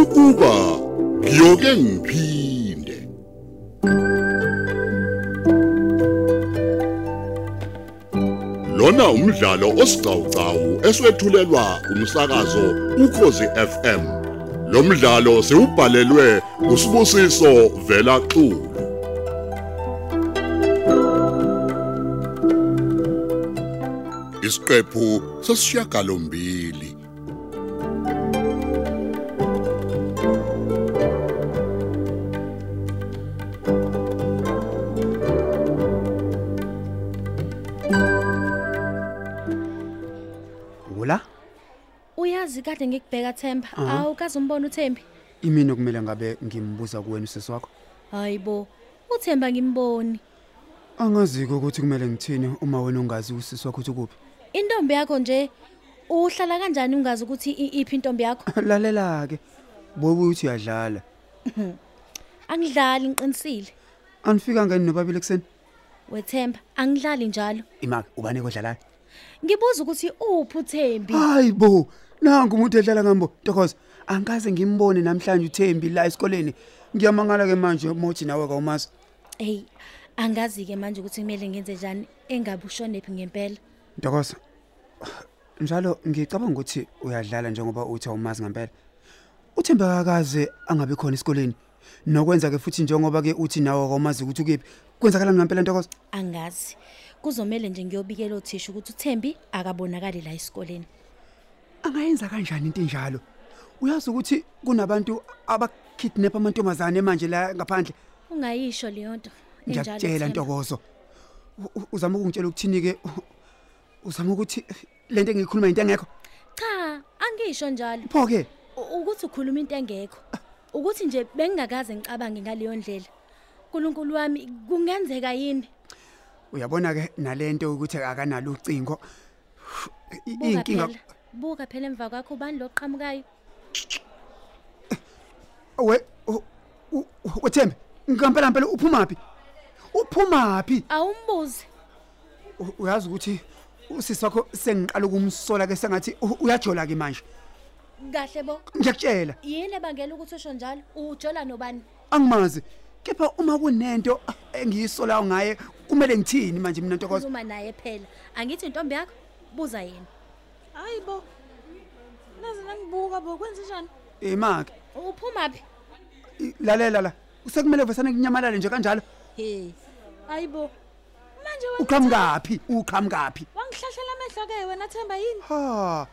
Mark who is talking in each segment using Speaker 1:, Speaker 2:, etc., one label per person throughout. Speaker 1: ukuba ngiyoke ngiphinde lona umdlalo osiqhawqhawo eswethulelwa umsakazo ukhozi FM lo mdlalo siubhalelwe usibusiso vela xulu isiqephu sesishiyagalombili
Speaker 2: Ula
Speaker 3: uyazi kade ngikubheka themba awukazi umbona uthembi
Speaker 2: imini kumele ngabe ngimbuza kuwena usisi wakho.
Speaker 3: hayi bo uthemba ngimboni
Speaker 2: Angaziko ukuthi kumele ngithini uma wena ungazi usisi wakho ukuthi kuphi.
Speaker 3: intombi yakho nje uhlala kanjani ungazi ukuthi i- iphi intombi yakho
Speaker 2: Lalela ke. Bobu uthi uyadlala.
Speaker 3: angidlali ngiqinisile
Speaker 2: Anifika ngani nobabili ekseni?
Speaker 3: wethemba angidlali njalo
Speaker 2: Imake ubane kodlalayo.
Speaker 3: ngibuza ukuthi uphi uthembi
Speaker 2: Hayibo, nangu umuntu edlala ngambo. Ntokoza, angikaze ngimbone namhlanje uThembi la esikoleni. Ngiyamangala ke manje mothi nawe kawumazi.
Speaker 3: hey angazi-ke manje ukuthi kumele ngenze njani engabe ushonephi ngempela
Speaker 2: Ntokoza. Njalo ngicabanga ukuthi uyadlala njengoba uthi awumazi ngempela. Uthembe akaze angabe khona esikoleni. Nokwenza ke futhi njengoba ke uthi nawe kawumazi ukuthi ukuphi. Kwenzakalani ngempela Ntokoza?
Speaker 3: angazi kuzomele nje ngiyobikela othisha ukuthi uthembi akabonakali la esikoleni
Speaker 2: Angayenza kanjani into enjalo? Uyazi ukuthi kunabantu abakidnap amantombazane manje la ngaphandle.
Speaker 3: ungayisho leyo nto enjalo,
Speaker 2: Ngiyakutshela
Speaker 3: Themba.
Speaker 2: Ntokozo. U- u- Uzama ukungitshela ukuthini ke? U- Uzama ukuthi lento engiyikhuluma into engekho.
Speaker 3: cha angisho njalo
Speaker 2: Pho ke
Speaker 3: U- ukuthi ukhuluma into engekho ukuthi nje bengingakaze ngicabange ngaleyo ndlela nkulunkulu wami kungenzeka yini
Speaker 2: uyabona ke nalento ukuthi akanalo ucingo. I-
Speaker 3: buka phela buka phela emva kwakho ubani lo qhamukayo
Speaker 2: we u- u- uthembe ngampela ngempela uphuma phi uphuma phi
Speaker 3: awumbuze
Speaker 2: U- uyazi ukuthi usisi wakho sengiqala ukumsola ke sengathi u- uyajola ke manje
Speaker 3: kahle bo
Speaker 2: ngiyakutshela
Speaker 3: yini ebangela ukuthi usho njalo ujola nobani
Speaker 2: angimazi kepha uma kunento engiyisolayo ngaye kumele ngithini manje mina ntokozo
Speaker 3: khuluma naye phela angithi intombi yakho buza yena
Speaker 4: hayi bo naze nangibuka bo kwenze njani
Speaker 2: imake
Speaker 3: uphuma phi
Speaker 2: i- lalela la sekumele vesane kunyamalale nje kanjalo
Speaker 4: he hayi bo manje wena
Speaker 2: uqhamukaphi uqhamukaphi
Speaker 4: wangihlahlela amehlo-ke wena themba yini
Speaker 2: ha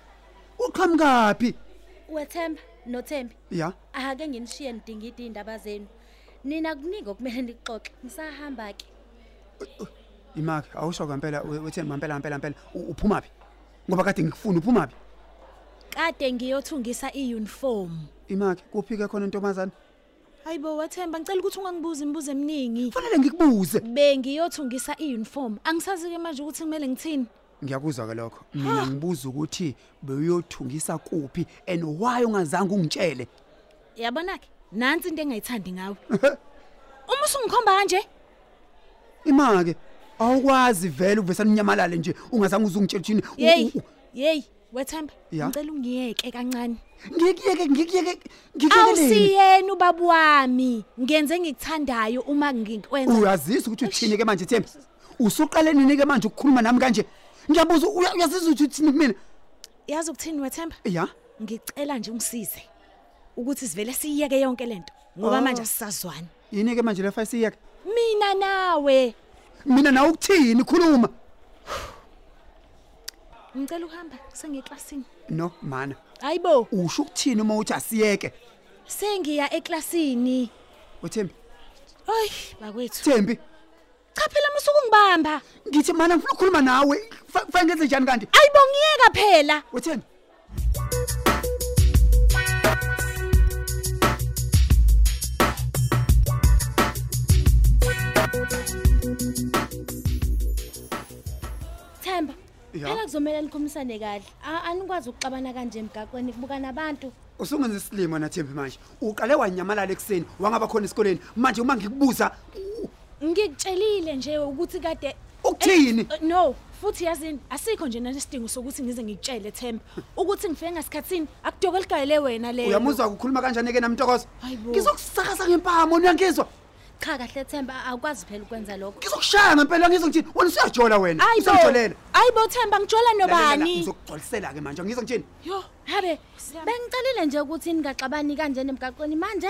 Speaker 2: uqhamukaphi
Speaker 3: wethemba nothembi
Speaker 2: ya
Speaker 3: ake nginishiye nidingide iy'ndaba zenu nina kuningi okumele nikuxoxe ngisahamba-ke
Speaker 2: imake awusho ngempela we- wethembe ngempela ngempela ngempela u- uphuma phi ngoba kade ngikufuna uphuma phi
Speaker 4: kade ngiyothungisa iyunifomu
Speaker 2: imake kuphike khona intombazane
Speaker 4: hayi bo wethemba ngicela ukuthi ungangibuza imibuzo eminingi
Speaker 2: kufanele ngikubuze
Speaker 4: bengiyothungisa iyunifomu angisazi-ke manje ukuthi kumele ngithini
Speaker 2: ngiyakuzwa ke lokho mina ngibuza ukuthi bewuyothungisa kuphi and why ungazange ungitshele
Speaker 4: yabona-ke nansi into engayithandi ngawe uma usungikhomba kanje
Speaker 2: imake awukwazi vele uvesana unyamalale nje ungazange uzungitshela uthini U-
Speaker 4: yeyi
Speaker 2: u-
Speaker 4: yeyi wethemba
Speaker 2: Ya.
Speaker 4: ngicela ungiyeke kancane
Speaker 2: ngikuyeke ngikuyeke ngikuyekeleni
Speaker 4: awusiyeni ubaba wami ngenze ngikuthandayo uma ngikwenza
Speaker 2: uyazisa ukuthi uthini ke manje Thembi usuqale nini ke manje ukukhuluma nami kanje ngiyabuza uya- uyazizwa ukuthi uthini kumina
Speaker 4: yazi ukuthini wethemba
Speaker 2: ya
Speaker 4: ngicela nje ungisize ukuthi sivele siyiyeke yonke lento
Speaker 2: Ah.
Speaker 4: ngoba manje asisazwani
Speaker 2: yini ke manje lefa siyeke
Speaker 4: mina nawe
Speaker 2: mina nawe ukuthini khuluma
Speaker 4: ngicela ukuhamba sengiyeklasini
Speaker 2: no mana
Speaker 4: hayibo
Speaker 2: usho ukuthini uma uthi asiyeke
Speaker 4: sengiya eklasini
Speaker 2: uthembi
Speaker 4: oyi bakwethu
Speaker 2: thembi
Speaker 4: cha phela musuku ngibamba
Speaker 2: ngithi mana ngifuna ukukhuluma nawe Fa- kufanele ngenze njani kanti
Speaker 4: ayibo ngiyeka phela
Speaker 2: uthembi
Speaker 3: themba
Speaker 2: Ya.
Speaker 3: phela kuzomele nikhumisane kahle A- anikwazi ukuxabana kanje emgaqweni kubuka nabantu
Speaker 2: usungenza isilimo wena thembi manje uqale wanyamalala ekuseni wangaba khona esikoleni manje uma ngikubuza u-
Speaker 4: ngikutshelile nje ukuthi kade
Speaker 2: ukuthini
Speaker 4: Eh, no futhi yazini asikho nje nanesidingo sokuthi ngize ngikutshele Themba ukuthi ngifike ngasikhatsini akudokeligayele wena le
Speaker 2: uyamuzwa ukukhuluma kanjani ke namntokozo
Speaker 4: Hayibo.
Speaker 2: ngizokusakasa ngempama wena uyangizwa
Speaker 3: cha kahle themba awukwazi phela ukwenza lokho
Speaker 2: ngizokushaya ngempela uyangizwa ngithini wena usuyajola wena usuyajolela
Speaker 4: Ayibo Themba ngijola nobani?
Speaker 2: ngizokugcwalisela ke manje ngizwa ngithini
Speaker 4: Yo,
Speaker 3: habe
Speaker 4: Siyami.
Speaker 3: bengicelile nje ukuthi ningaxabani kanje emgaqweni manje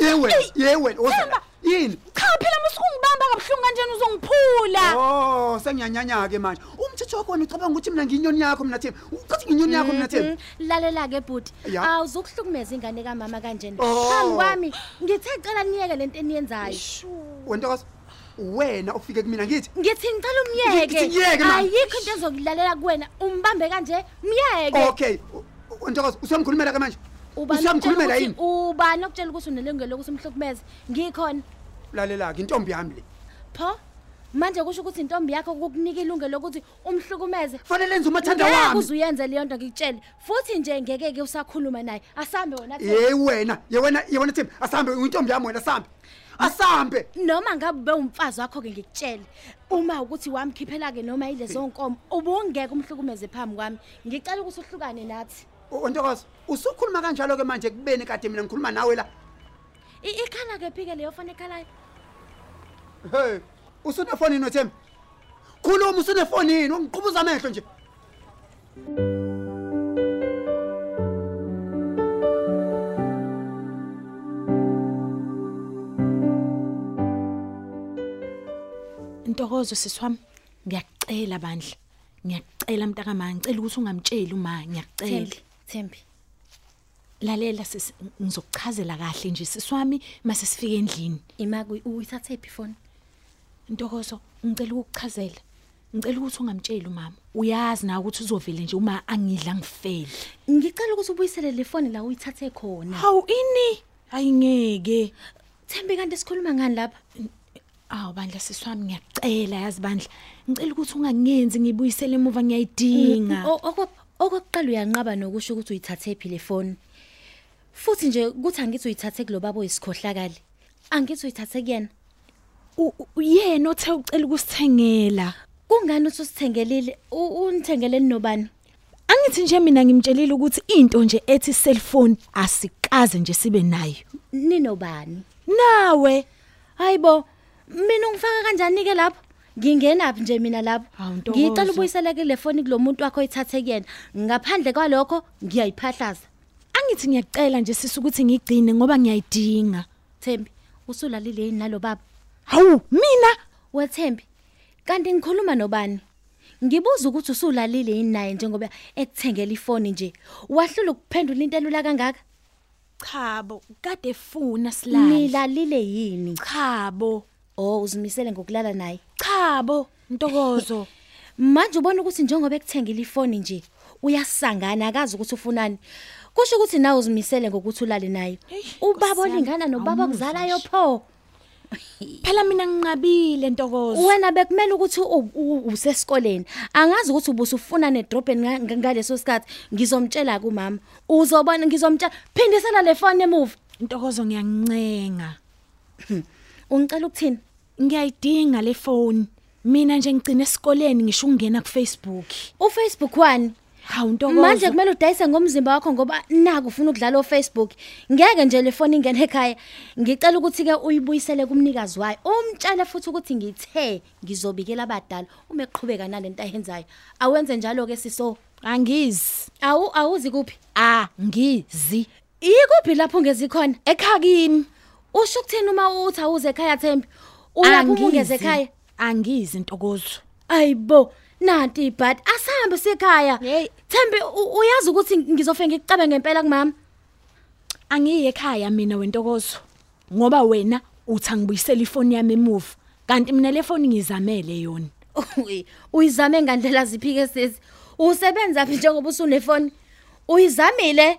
Speaker 2: ye wena ye wena wozala
Speaker 4: Themba!
Speaker 2: yini
Speaker 4: cha phela musukungibamba kabuhlungu kanjena uzongiphula.
Speaker 2: Oh, sengiyanyanya-ke manje umthetho wakho wena ucabanga ukuthi mina ngiyinyoni yakho mina themba ucathi ngiyinyoni yakho mina themba
Speaker 3: lalela-ke Hmm, bhuti
Speaker 2: Ya.
Speaker 3: awuzukuhlukumeza ingane kamama kanjena
Speaker 2: Oh.
Speaker 3: phambi kwami ngithe cela niyeke lento eniyenzayo
Speaker 2: wentokozo wena ufike kumina ngithi
Speaker 3: ngithi ngicela
Speaker 2: Ngithi ngiyeke,
Speaker 3: umyeke
Speaker 2: ma.
Speaker 3: ayikho into ezokulalela kuwena umbambe kanje myeke
Speaker 2: okay u- u- wentokozo usuyamkhulumela ke manje
Speaker 3: Ubani okutshela
Speaker 2: usuyamkhulumela
Speaker 3: ukuthi-
Speaker 2: yini
Speaker 3: ubani okutshela ukuthi unelungelo lokuthi umhlukumeze ngikhona
Speaker 2: lalela-ke intombi yami le
Speaker 3: pho manje kusho ukuthi intombi yakho kukunika ilungelo lokuthi umhlukumeze
Speaker 2: fanele enze umathanda
Speaker 3: ngeke
Speaker 2: wami
Speaker 3: uze uyenze leyo nto ngikutshele futhi nje ngeke-ke usakhuluma naye asambe wona Themba.
Speaker 2: ye wena ye wena ye wena themba asambe intombi yami wena asambe asambe
Speaker 3: noma ngabe ube umfazi wakho-ke ngikutshele uma ukuthi wamkhiphela-ke noma yilezo nkomo ubungeke umhlukumeze phambi kwami ngicela ukuthi uhlukane nathi
Speaker 2: U- wentokozo usukhuluma kanjalo-ke manje kubeni kade mina ngikhuluma nawe la
Speaker 3: I- ikhala-ke phike leyo foni ekhalayo
Speaker 2: he usunefonini wethemba khuluma usunefonini ungiqubuza amehlo nje
Speaker 4: Ntokozo siswami, ngiyakucela bandla. Ngiyakucela mntakama, ngicela ukuthi ungamtsheli uma ngiyakucela.
Speaker 3: thembi thembi
Speaker 4: Lalela sisi, ngizokuchazela kahle nje siswami mase sifike endlini.
Speaker 3: imaki uyithathephi foni
Speaker 4: Ntokozo, ngicela ukukuchazela. Ngicela ukuthi ungamtsheli umama. Uyazi na ukuthi uzovele nje uma angidla ngifele.
Speaker 3: ngicela ukuthi ubuyisele le foni la uyithathe khona
Speaker 4: Hawu ini? Ayingeke.
Speaker 3: thembi kanti sikhuluma ngani lapha
Speaker 4: Awu bandla siswami ngiyakucela yazi bandla. Ngicela ukuthi ungangenzi ngibuyisele emuva ngiyayidinga.
Speaker 3: O- okwa- okokuqala uyanqaba nokusho ukuthi uyithathephi le foni futhi nje kuthi angithi uyithathe kulo baba oyisikhohlakali angithi uyithathe kuyena
Speaker 4: U- u- uyena othe ucela ukusithengela
Speaker 3: kungani uthi usithengelile U- unithengeleni nobani
Speaker 4: angithi nje mina ngimtshelile ukuthi into nje ethi cellphone asikaze nje sibe nayo
Speaker 3: ninobani
Speaker 4: nawe
Speaker 3: hayibo mina ungifaka kanjani ke lapho ngingenaphi nje mina lapho
Speaker 4: Hawu, Ntokozo.
Speaker 3: ngicela ubuyisele kule foni kulo muntu wakho oyithathe kuyena ngaphandle kwalokho ngiyayiphahlaza
Speaker 4: angithi ngiyakucela nje sisi ukuthi ngigcine ngoba ngiyayidinga
Speaker 3: thembi usulalile yini nalo baba
Speaker 4: hawu mina
Speaker 3: wethembi kanti ngikhuluma nobani ngibuza ukuthi usulalile yini naye njengoba ekuthengela ifoni nje wahlula ukuphendula into elula kangaka
Speaker 4: chabo kade funa silala
Speaker 3: nilalile yini
Speaker 4: chabo
Speaker 3: oh uzimisele ngokulala naye
Speaker 4: chabo ntokozo
Speaker 3: manje ubona ukuthi njengoba ekuthengile ifoni nje uyasangana akazi ukuthi ufunani kusho ukuthi nawe uzimisele ngokuthi ulale naye
Speaker 4: Hey,
Speaker 3: ubaba
Speaker 4: Nkosi yami,
Speaker 3: olingana nobaba
Speaker 4: awumuzi
Speaker 3: okuzalayo
Speaker 4: nje.
Speaker 3: pho
Speaker 4: phela mina nginqabile ntokozo
Speaker 3: wena bekumele ukuthi u- u- usesikoleni angazi ukuthi ubusufuna nedrobheni nga- nga- ngaleso sikhathi ngizomtshela kumama uzobona ngizomtshela phindisela le foni emuva
Speaker 4: ntokozo ngiyancenga
Speaker 3: ungicela ukuthini
Speaker 4: ngiyayidinga le phone mina nje ngigcine esikoleni ngisho ukungena kufacebook
Speaker 3: ufacebook wani
Speaker 4: hawu ntokozo
Speaker 3: manje kumele udayise ngomzimba wakho ngoba naku ufuna ukudlala ofacebook ngeke nje le foni ingene ekhaya ngicela ukuthi-ke uyibuyisele kumnikazi wayo umtshele futhi ukuthi ngithe ngizobikela abadala uma eqhubeka nale nto ayenzayo awenze njalo-ke siso
Speaker 4: angizi
Speaker 3: awu awuzi kuphi
Speaker 4: angizi
Speaker 3: yikuphi lapho ngezikhona
Speaker 4: ekhakini
Speaker 3: usho ukuthini uma uthi awuze ekhaya thembi ulapho uma ungeze ekhaya
Speaker 4: angizi ntokozo
Speaker 3: ayibo nanti ibhati asihambe sikhaya
Speaker 4: Hey.
Speaker 3: thembi u- uyazi ukuthi ngizofike ngikucabe ngempela kumama
Speaker 4: angiyi ekhaya mina wentokozo ngoba wena uthi angibuyisele ifoni yami emuva kanti mina le foni ngizamele yona
Speaker 3: Uyi, uyizame ngandlela ziphi-ke sisi usebenza phi njengoba usunefoni uyizamile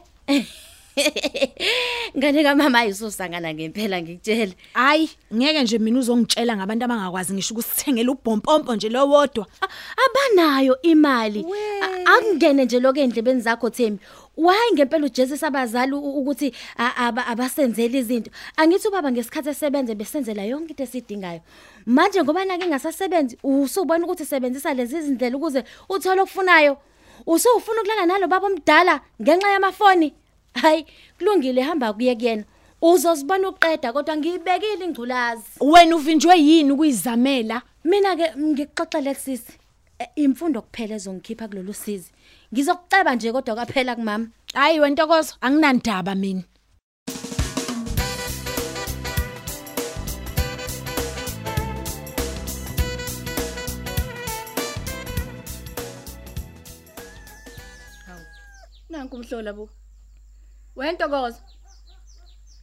Speaker 3: ngane kamama ayisusangana ngempela ngikutshele
Speaker 4: hayi ngeke nje mina uzongitshela ngabantu abangakwazi ngisho ukusithengela ubhompompo nje lowodwa
Speaker 3: A- abanayo imali
Speaker 4: We.
Speaker 3: A- akungene nje lokho ey'ndlebeni zakho thembi waye ngempela uJesus abazali u- ukuthi a- aba- abasenzele izinto angithi ubaba ngesikhathi esebenze besenzela yonke into esidingayo manje ngoba nake ngasasebenzi usubona ukuthi sebenzisa lezi zindlela ukuze uthole okufunayo usufuna ukulala nalo baba omdala ngenxa yamafoni hayi kulungile hamba kuye kuyena uzosibona uqeda kodwa ngiyibekile ingculazi
Speaker 4: wena uvinjwe yini ukuyizamela
Speaker 3: mina ke ngikuxoxele kusisi eh, imfundo kuphela ezongikhipha kulolu sizi ngizokuceba nje kodwa kwaphela kumama
Speaker 4: hayi wentokozo anginandaba mina
Speaker 5: Nanku umhlola bu. Wentokozo.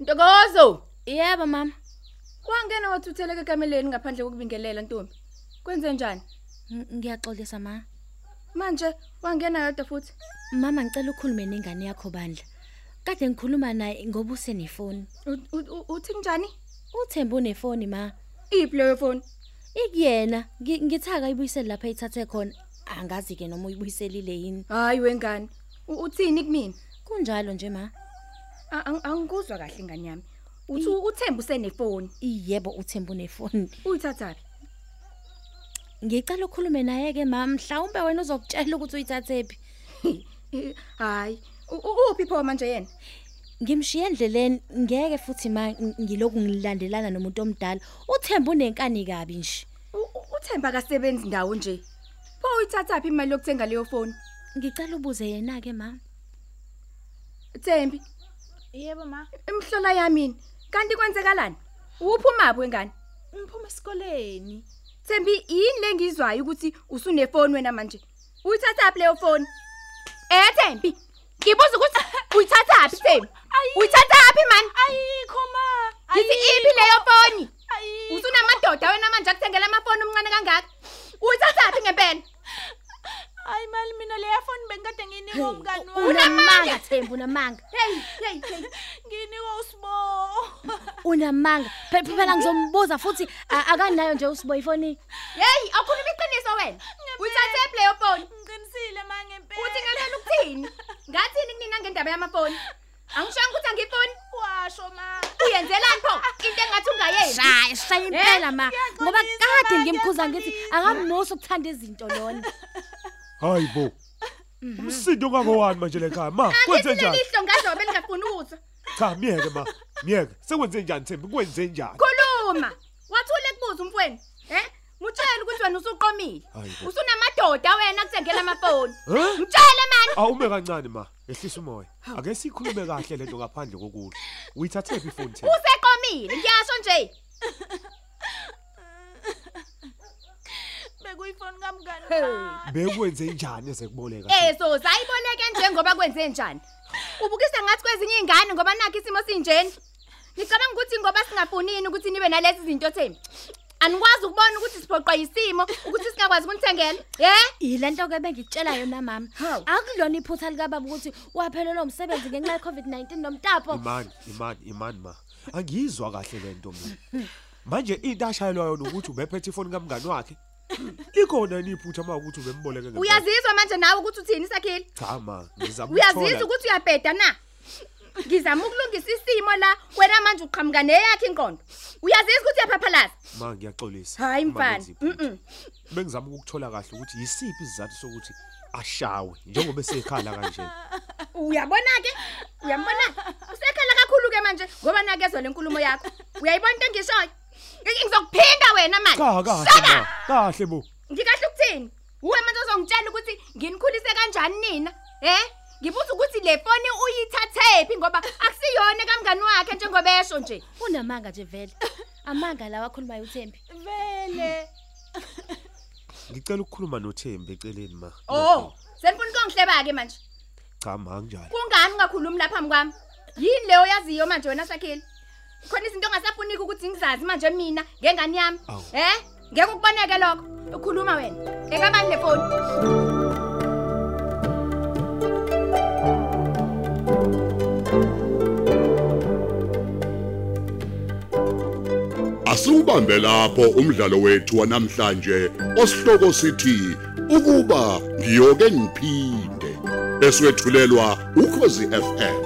Speaker 5: Ntokozo,
Speaker 3: yebo mama
Speaker 5: kwangena wathutheleke kameleni ngaphandle kokubingelela Ntombi. Kwenze njani?
Speaker 3: Ng- ngiyaxolisa ma
Speaker 5: Manje wangena yodwa futhi.
Speaker 3: mama ngicela ukhulume nengane yakho bandla kade ngikhuluma naye ngoba usenefoni
Speaker 5: U- u- u- Uthi njani?
Speaker 3: uthembe unefoni ma
Speaker 5: Iphi leyo phone?
Speaker 3: ikuyena Ngi- ngithaka ibuyisele lapha ayithathe khona angazi ke noma uyibuyiselile yini
Speaker 5: Hayi wengane. U- Uthini kimi?
Speaker 3: kunjalo nje ma
Speaker 5: Angikuzwa kahle ngani yami. Uthi u- uthemba usenefoni.
Speaker 3: iyebo uthembe unefoni
Speaker 5: Uyithathaphi?
Speaker 3: ngicela ukhulume naye ke ma mhlawumbe wena uzokutshela ukuthi uyithathe phi
Speaker 5: Hayi. U- u- Uphi pho manje yena?
Speaker 3: ngimshiye endleleni ngeke futhi ma ng- ngiloku ngilandelana nomuntu omdala uthembe unenkani kabi nje
Speaker 5: U- u- Uthemba kasebenzi ndawo nje. Pho uyithathaphi imali yokuthenga leyo phone?
Speaker 3: ngicela ubuze yena ke ma
Speaker 5: Thembi,
Speaker 4: yebo ma
Speaker 5: imhlola yami kanti kwenzekalani uphuma phi wengane
Speaker 4: ngiphuma esikoleni
Speaker 5: Thembi yini lengizwayo ukuthi usunefoni wena manje uyithathaphi leyo phone Eh Thembi ngibuza ukuthi uyithathaphi Thembi uyithathaphi man
Speaker 4: ayikho ma
Speaker 5: ngithi iphi leyo phone
Speaker 4: ayikho
Speaker 5: usunamadoda wena manje akuthengele amafoni umncane kangaka uyithathaphi ngempela
Speaker 4: hayi mali mina leya phone bengikade ngiyinikwe umngani
Speaker 3: unamanga thembe unamanga
Speaker 5: hey hey hey
Speaker 4: ngiyinikwe usibo
Speaker 3: unamanga Phe- phe- phela ngizombuza futhi a- akanayo nje usibo ifoni
Speaker 5: hey awukhuluma iqiniso wena uyithathaphi leyo phone
Speaker 4: ngiqinisile ma
Speaker 5: uthi
Speaker 4: ngempela
Speaker 5: ngempela ukuthini ngathini kunina ngendaba yamafoni angishongo ukuthi angifoni
Speaker 4: washo ma
Speaker 5: uyenzelani pho into engathi ungayenzi
Speaker 3: shaya shaya impela ma ngoba kade
Speaker 4: ma,
Speaker 3: ngimkhuza ngithi akamnosi ukuthanda izinto lona
Speaker 6: hayi bo umsindo kangowani manje lekhaya ma kwenze njani
Speaker 5: lelihlo ngazobe lingafuni ukuzwa
Speaker 6: cha miyeke ma miyeke sekwenze njani thembi kwenze njani
Speaker 5: khuluma wathule kubuza umfweni eh mutshele ukuthi wena usuqomile
Speaker 6: Hayi bo.
Speaker 5: usunamadoda wena akuthengela amafoni
Speaker 6: Eh?
Speaker 5: mtshele mani
Speaker 6: awume kancane ma ehlisa umoya ake sikhulume kahle lento ngaphandle kokudla uyithathephi ifoni thembi
Speaker 5: useqomile ngiyasho nje
Speaker 4: bekuyifoni kamngani
Speaker 6: bekwenze njani eze kuboleka Thembi?
Speaker 5: ezo zayiboleke njengoba kwenze njani ubukisa ngathi kwezinye ingane ngoba nakho isimo sinjeni ngicabanga ukuthi ngoba singafunini ukuthi nibe nalezi zinto Thembi anikwazi ukubona ukuthi siphoqwa yisimo ukuthi singakwazi ukunithengela eh
Speaker 3: yile nto ke bengikutshela yona mama
Speaker 5: Hawu.
Speaker 3: akulona iphutha likababa ukuthi waphelelwa umsebenzi ngenxa ye-covid-19 nomtapo
Speaker 6: imani imani imani ma angiyizwa kahle lento mina manje into ashayelwa yona ukuthi ubephethe ifoni kamngani wakhe likhona yini iphutha ma ukuthi ubemboleke ngemali?
Speaker 5: uyazizwa manje nawe ukuthi uthini sakhile
Speaker 6: cha ma ngizama
Speaker 5: uyazizwa
Speaker 6: ukuthola-
Speaker 5: ukuthi uyabheda na ngizama ukulungisa isimo la wena manje uqhamuka neyakhe inqondo uyazizwa ukuthi uyaphaphalaza
Speaker 6: ma ngiyaxolisa
Speaker 5: Hayi,
Speaker 6: uma
Speaker 5: mfana.
Speaker 6: ngenza iphutha. bengizama ukukuthola kahle ukuthi yisiphi isizathu sokuthi ashawe njengoba esekhala kanje
Speaker 5: uyabona ke uyambona usekhala kakhulu ke manje ngoba nakezwe lenkulumo yakho uyayibona into engishoyo Ngi- ngizokuphinda wena manje
Speaker 6: cha kahle ma kahle bo
Speaker 5: ngikahle ukuthini uwe manje ozongitshela ukuthi nginikhulise kanjani nina eh ngibuza ukuthi le foni uyithathephi ngoba akusiyona kamngani wakhe njengoba esho nje
Speaker 3: unamanga nje vele amanga lawa akhulumayo uthembi
Speaker 4: vele
Speaker 6: ngicela ukukhuluma noThembi eceleni ma
Speaker 5: oh senifuna ukongihleba ke manje
Speaker 6: cha ma kanjani
Speaker 5: kungani ungakhulumi lapha phambi kwami yini leyo yaziyo manje wena sakhile khona izinto ongasafuniki ukuthi ngizazi manje mina ngengane yami
Speaker 6: Awu.
Speaker 5: eh ngeke ukuboneke lokho ukhuluma wena ekabani le phone
Speaker 1: Asubambe lapho umdlalo wethu wanamhlanje osihloko sithi ukuba ngiyoke ngiphinde eswetshulelwa ukhozi FM